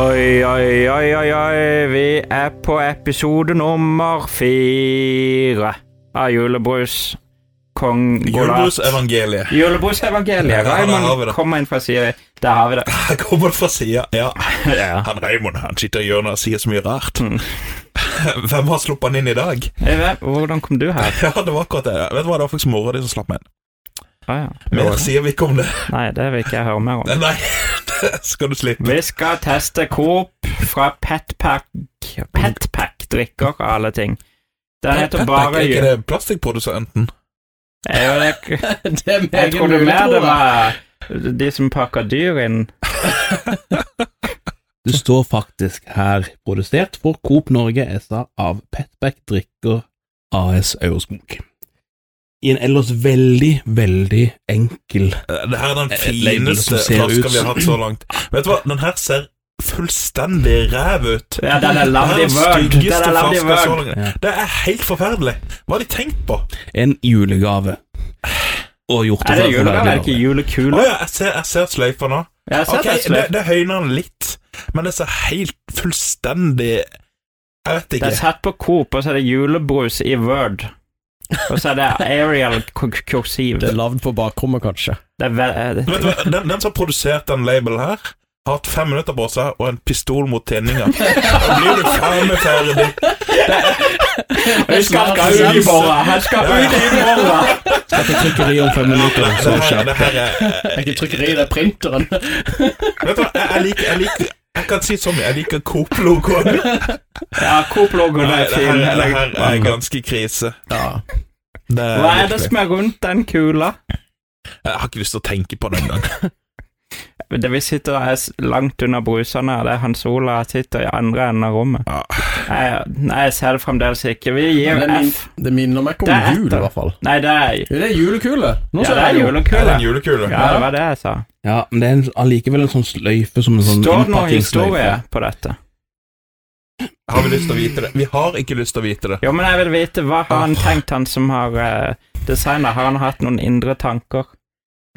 oi, oi, oi, oi. Vi er på episode nummer fire av Julebrus. Kong Golat. Julebrusevangeliet. Ja, Julebrusevangeliet. der har vi Raymond det. kommer inn fra sida. Der har vi det. Her kommer det fra sida. Ja. Ja. Han Raymond han sitter i hjørnet og sier så mye rart. Mm. Hvem har sluppet han inn i dag? Eva, Hvordan kom du her? Ja, det var akkurat det. Vet du hva, det var faktisk mora di som slapp meg inn. Ah, ja. Mer sier vi ikke om det. Nei, det vil ikke jeg høre mer om. Nei, det skal du slippe. Vi skal teste Coop fra Petpack. Petpack drikker og alle ting. Den heter bare Er ikke Jul... det plastikkprodusenten? Jeg, jeg, Det er jeg meget trodde mulig, mer tror det jeg. var de som pakker dyr inn. Det står faktisk her produsert for Coop Norge SA av Petback Drikker AS Aurskog. I en ellers veldig, veldig enkel Eh, Det her er den Et Eh, label fineste som ser ut flaska vi som- har hatt så langt. Vet du hva, den her ser fullstendig ræv ut. Ja, den er Det her lagd er i den Word. Den styggeste er lagd i flaska så Word. Ja. langt. Det er helt forferdelig. Hva har de tenkt på? Å En julegave. Og gjort Er det for- for julegave? Er det verden ikke over. julekule? ja, jeg ser, jeg ser sløyfa nå. Jeg har Ok, sett det. det, Sløyf. det høyner den litt, men det ser helt fullstendig Jeg vet Det ikke. er satt på Coop, og så er det julebrus i Word. Og så er det Arial kur- kursiv. Det er lagd på bakrommet, kanskje. Det er vel, eh, Vet du hva, den, den som har produsert den labelen her, har hatt fem minutter på seg og en pistol mot tinninga. Da blir du faen meg ferdig. Jeg skal ut i morgen! Jeg skal ut i morgen! Skal til trykkeri om fem minutter, Det, så det, her, skjerp det her er Det er ikke trykkeri, det er printeren. Vet du hva, jeg, jeg liker jeg liker jeg kan si så mye. Jeg liker Coop-logoen. Nei, Ja, Coop-logoen Det er her, fin. det her er ganske krise. Ja. Det er Hva er det virkelig- som er rundt den kula? Jeg har ikke lyst til å tenke på det engang. Det Vi sitter og er s- langt unna brusene, og det er Hans Ola sitter i andre enden av rommet. Ja. Jeg, nei, jeg ser det fremdeles ikke. Vi Ja, gir men min- F. Det minner meg Det er om jul, etter. i hvert fall. Nei, det er, Ja, Det er julekule. Nå ja, ser det er jeg jo. Er det en julekule. julekule? Ja, det var det jeg sa. Ja, men det er en- allikevel en sånn sløyfe som en sånn Står det noe innpakningssløyfe. historie på dette? Har vi lyst til å vite det? Vi har ikke lyst til å vite det. Jo, men jeg vil vite, hva har Ah. han tenkt, han som har uh, designa? Har han hatt noen indre tanker?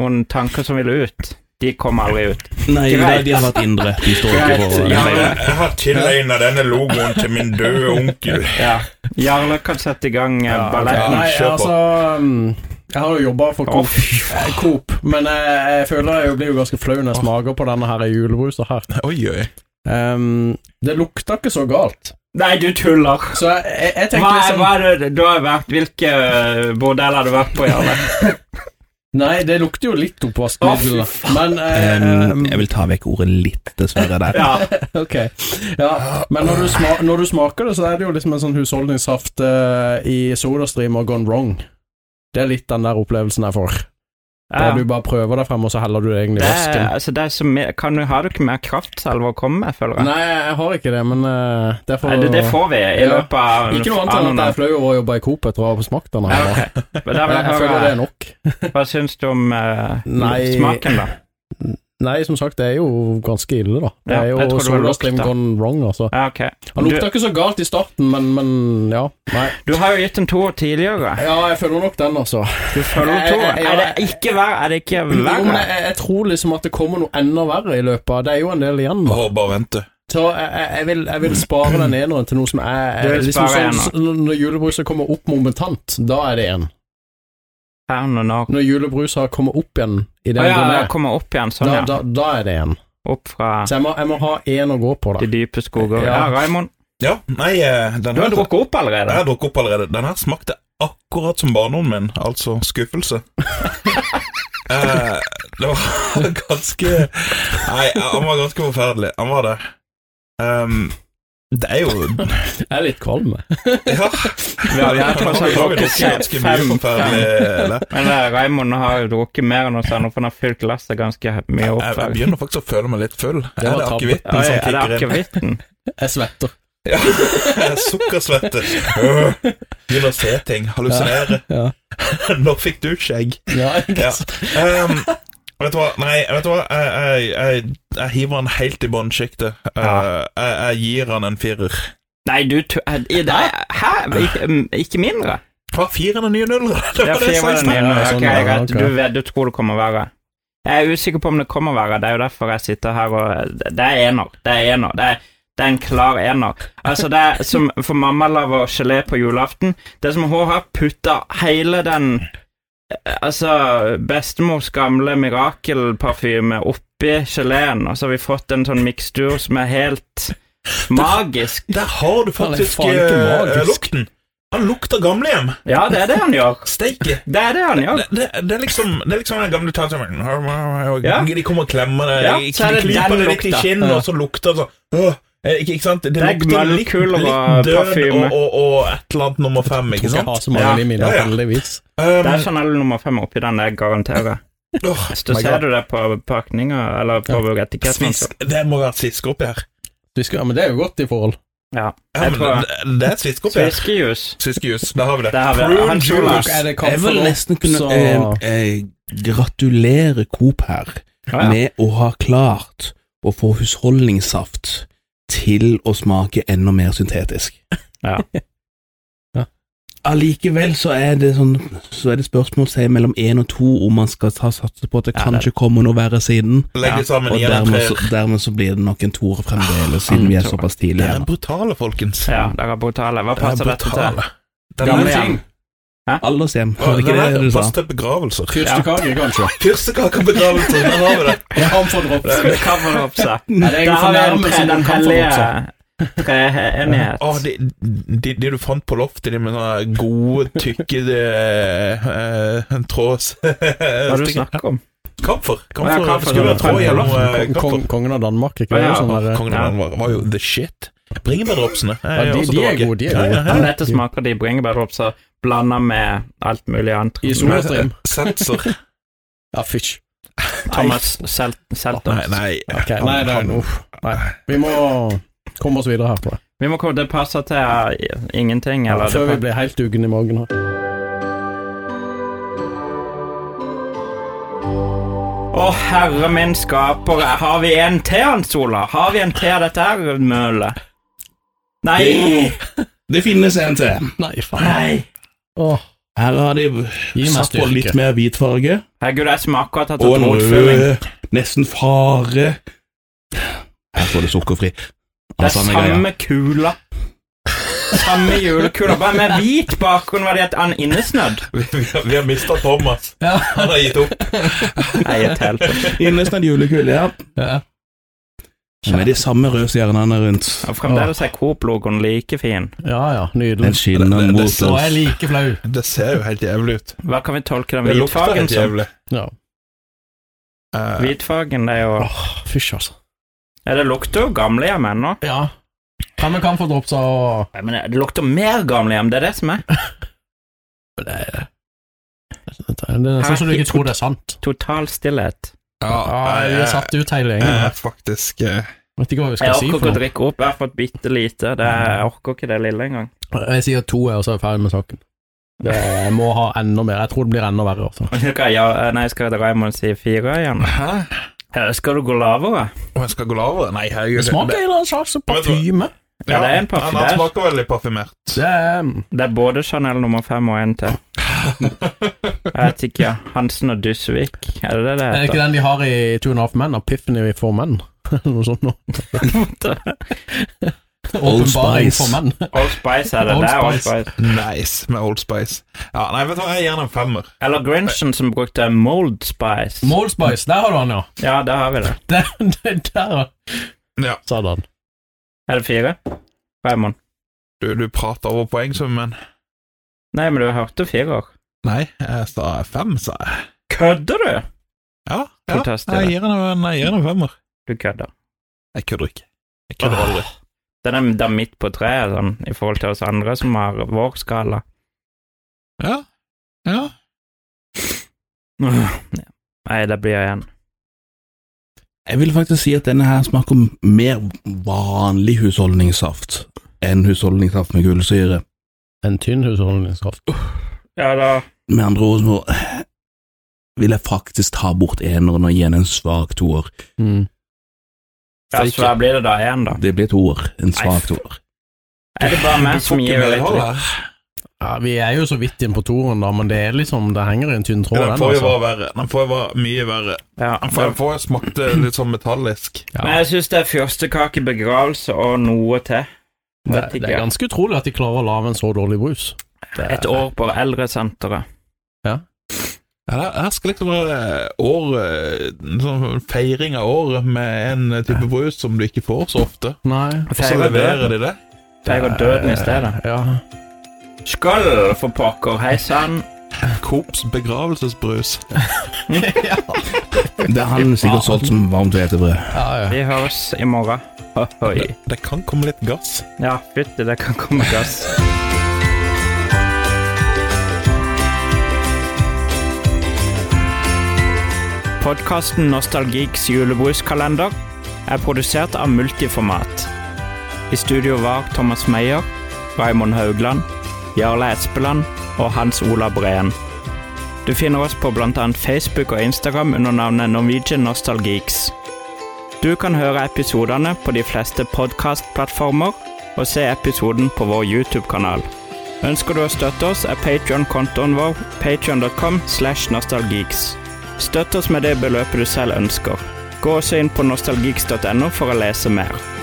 Noen tanker som vil ut? De kommer aldri ut. Nei, Greit. de har vært indre. De står ikke Greit, for ja. Jeg, jeg har tilegna denne logoen til min døde onkel. Ja. Jarle kan sette i gang uh, balletten. Nei, kjør på. altså um, Jeg har jo jobba for Coop, eh, Coop men jeg, jeg føler jeg blir jo ganske flau når jeg smaker på denne her julebrusa her. Oi, oi. Um, det lukta ikke så galt. Nei, du tuller! Så jeg, jeg, jeg Hva tenkte er, liksom hva er det du har vært? Hvilke eh, bordeller har du vært på, Jarle? Nei, det lukter jo litt oppvaskmiddel, Å, da. Men eh, Um, jeg vil ta vekk ordet litt, dessverre, der. Ja. Ok, ja, men når du, sma når du smaker det, så er det jo liksom en sånn husholdningssaft eh, i sodastream og gone wrong. Det er litt den der opplevelsen jeg får. Ja. Der du bare prøver deg frem, og så heller du det egentlig Det i er, vasken. altså, det er så mer, kan du, har du ikke mer kraftsalve å komme med, føler jeg? Nei, jeg har ikke det, men eh, det får Nei, det, det får vi i Ja. løpet av Ikke noe annet enn at jeg er flau over å jobbe i Coop etter å ha smakt den. Ja, her. ok. Men da vil Jeg, jeg jeg føler det høre, er nok. hva syns du om eh, Nei. smaken, da? Nei, som sagt, det er jo ganske ille, da. Det Ja, er jeg jo tror det var sodastream lukta. gone wrong, altså. Ja, ok. Han Du- lukta ikke så galt i starten, men, men ja. Nei. Du har jo gitt en toer tidligere. Ja, jeg føler nok den, altså. Du føler Jeg- toer. jeg- jeg- Er det ikke verre? Er det ikke Jo, men verre? jeg, jeg tror liksom at det kommer noe enda verre i løpet av Det er jo en del igjen. da Å, bare vent, du. Så jeg, jeg, jeg, vil, jeg vil spare den eneren til noe som er Du vil liksom spare sånn, sånn, Når julebruset kommer opp momentant, da er det en. Her nå, nå. Når julebruset har kommet opp igjen i Å den ja, den jeg er, kommer opp igjen, sånn, da, ja. da, da er det en. Opp fra Så jeg må, jeg må ha en å gå på, da. de dype skoger. Ja, Ja. Raymond. Ja, nei, eh, den Du har her drukket opp Jeg allerede. har drukket opp allerede. Den her smakte akkurat som barndommen min, altså skuffelse. eh, det var ganske Nei, han var ganske forferdelig. Han var det. Ehm, det er jo Jeg er litt kvalm. jeg. Ja. Ja, vi har tross alt Vi har jo drukket drukket ganske fem- mye forferdelig eller? Men eh, Raymond har jo drukket mer enn oss andre, for han har fylt glasset ganske mye opp. Jeg, jeg begynner faktisk å føle meg litt full. Er det tabbe. Ja, akevitten som sånn er det kicker inn? akevitten? Jeg svetter. Jeg Sukkersvette. Øh, Begynner å se ting. Hallusinere. Ja. Når fikk du skjegg? Ja, ikke Ja. sant? Ehm, vet du hva? Nei, vet du hva? Jeg, jeg, jeg, jeg hiver han helt i bånnsjiktet. Ja. jeg, jeg gir han en firer. Nei, du tu- eh, i det, Hæ? Ikke, mm, ikke mindre? Hva, fire er den nye nulleren? Det Ja, var det fire jeg sa i er den stad. ene. Ja, Ok, sånn, ja, greit. ok. Du vet, du tror det kommer verre. Jeg er usikker på om det kommer verre. Det er jo derfor jeg sitter her og Det er ener. Det er ener. Det er, det er en klar ener. Altså, det er som for mamma lager gelé på julaften. Det er som hun har putta hele den eh, Altså, bestemors gamle mirakelparfyme oppi geleen, og så har vi fått en sånn mikstur som er helt magisk. Der har du faktisk faen ikke eh, magisk. lukten. Han lukter gamlehjem. Ja, det er det han gjør. Steike. Det er det han gjør. Det, det, det, er liksom, det er liksom den gamle tanten Ja. De kommer og klemmer deg, Ja, de så er det klyper den deg litt i lukta. kinnet, og så lukter det sånn Åh, eh, ikke, ikke sant? Det, er lukter litt, møllkuler og litt død og, parfyme. og, og et eller annet nummer fem, ikke Jeg sant? har så mange Ja. i mine, Ja, ja. heldigvis. Um, Det er sånn. Chanel nummer fem oppi den, det garanterer jeg. åh, Så ser du det på pakninga, eller på etiketten. altså. svisk, det må være svisk oppi her. Du skal, men det er jo godt i forhold. Ja. Ja, Jeg men tror- det, det er svisk oppi her. Sviskejus. Sviskejus, der har vi det. Der har vi det. Prune Han tror juice. det. Er det Jeg vil for oss, nesten kunne så- eh, eh, gratulere Coop her Ja, ja. med å ha klart å få husholdningssaft til å smake enda mer syntetisk. Ja. Ja. Allikevel så er det sånn Så er det spørsmålstegn mellom én og to om man skal ta satse på at det Ja, det- kanskje kommer noe verre siden. Legge sammen Og igjen dermed tre. så, dermed så blir det nok en toer fremdeles, siden vi er såpass tidlig Dere her. er brutale, folkens. ja, dere er brutale. Hva Dere er passer dette til? brutale. Den Gamle er- gjeng. Alders hjem, Åh, var det den ikke er- det du sa? Pass til begravelser. Fyrstekake, kanskje? Fyrstekakebegravelser, der har vi det. Han får drops. Det cover opp seg. Er det Der en har vi en fornærmelse tre, du den kan få drops hellige av? treenighet. Ah, de, de, de du fant på loftet, de med sånne gode, tykke eh, tråds Hva er det du snakker om? Kamfer! Å, ja, Kamfer kamfer. skulle være tråd gjennom eh, Kong- kamfer. Kong, kongen av Danmark, ikke Ja, det? ja. Sånn der, Kongen av Danmark var jo the shit. Bringebærdropsene. Ja, de- de er gode, de er gode. Men dette smaker de bringebærdropser blanda med alt mulig annet. I solostream. Seltzer. Ja, fysj. Thomas Sel- Nei, Seltons. nei. Ok, nei, det er uff. Nei. Vi må komme oss videre her på det. Vi må komme, det passer til eh, ingenting, eller Før vi det, blir helt ugen i magen her. Å, herre min skaper, har vi en til, han Sola? Har vi en til av dette her mølet? Nei! Det finnes en til. Nei, faen. Nei! Åh, Her har de Gi meg satt på styrke. litt mer hvit farge. Herregud, jeg smaker at jeg har Og en tatt rotfylling. rød, nesten fare. Her får du sukkerfri. Det Av er samme greia. samme kula. Samme julekula, bare med hvit bakgrunn var det et an innesnødd. Vi, vi, har- vi har mista Thomas. Han har gitt opp. Nei, et helt Innestendt julekule, ja. Ja. Med de samme røde stjernene rundt. Og fremdeles er Coop-logoen like fin. ja ja, Den nydelig. skinner det- mot det oss. så jeg like flau. Det ser jo helt jævlig ut. Hva kan vi tolke den Det lukter hvitfargen helt som? jævlig. sånn. Ja. Eh, Hvitfargen, det er jo Fysj, altså. Ja, det lukter jo gamlehjem ennå. Ja. Kan vi kan få drops av Nei, Men det lukter mer gamlehjem, det er det som er. Det er sånn som du ikke tror det er sant. Total stillhet. Ja, Ah, vi er satt ut hele jeg gjengen. er faktisk eh, Vet ikke hva vi Jeg skal si orker for ikke å noe. drikke opp, jeg har fått bitte lite. Det, jeg orker ikke det lille engang. Jeg sier to, og så er vi ferdig med saken. Det må ha enda mer. Jeg tror det blir enda verre. Altså. Skal jeg- Ja, nei, skal Raymond si fire igjen? Hæ? Eh, Skal du gå lavere? Om jeg skal gå lavere? Nei, herregud. Det smaker en eller annen slags parfyme. Ja, det er en parfyme. han- Han smaker veldig parfymert. Det er um, Det er både Chanel nummer fem og en til. Jeg vet ikke. ja. Hansen og Dysvik, er det det det Er det ikke heter? den de har i Two and a Half Men? Epiphany for menn? Noe sånt noe. Old Åpenbaring Spice. for menn. Old Spice er det. Old det er Old Spice. Spice. Nice med Old Spice. Ja, nei, vet du hva, jeg gir den en femmer. Eller Grinchen som brukte Mold Spice. Mold Spice, der har du han, ja. Ja, der har vi det. Der, der Ja, sa du han. Er det fire? Raymond? du, du prater over poengsummen. Nei, men du hørte fire år. Nei, jeg sa fem, sa jeg. Kødder du? Ja, ja Protester, jeg det. gir den en, jeg gir den en femmer. Du kødder. Jeg kødder ikke. Jeg kødder aldri. Den er da midt på treet, sånn, i forhold til oss andre som har vår skala. Ja, ja. Nei, det blir jeg igjen. Jeg vil faktisk si at denne her smaker mer vanlig husholdningssaft enn husholdningssaft med kullsyre. En tynn husholdningskraft. Ja da. Med andre ord så vil jeg faktisk ta bort eneren og gi den en svak toer. Mm. Ja, så da blir det da én, da. Det blir toer. En svak Nei, toer. Er det bare meg Du får som ikke gir litt medhold her. Ja, vi er jo så vidt inn på toren, da, men det er liksom Det henger i en tynn tråd, Den den, forrige altså. var verre. Den forrige var mye verre. Ja. Den forrige- den forrige smakte litt sånn metallisk. Ja. Men jeg syns det er fyrstekake, begravelse og noe til. Det, Vet det er ikke. ganske utrolig at de klarer å lage en så dårlig brus. Det er- Et år på eldresenteret. Ja, det her skal liksom være år, en sånn feiring av året med en eh, type brus som du ikke får så ofte. Nei. Og så leverer de det. Feirer døden i stedet. Ja. Skål for pokker, hei sann. Coops begravelsesbrus. Det har han sikkert solgt som varmt hvetebrød. Ja, ja. Vi høres i morgen. Ohoi. Det, det kan komme litt gass. Ja, fytti, det kan komme gass. Podkasten Nostalgiks julebruskalender er produsert av Multiformat. I studio var Thomas Meyer, Raymond Haugland, Jarle Espeland og Hans Ola Breen. Du finner oss på bl.a. Facebook og Instagram under navnet Norwegian Nostalgeeks. Du kan høre episodene på de fleste podkastplattformer og se episoden på vår YouTube-kanal. Ønsker du å støtte oss, er Patreon-kontoen vår patreon.com slash nostalgeeks. Støtt oss med det beløpet du selv ønsker. Gå også inn på nostalgeeks.no for å lese mer.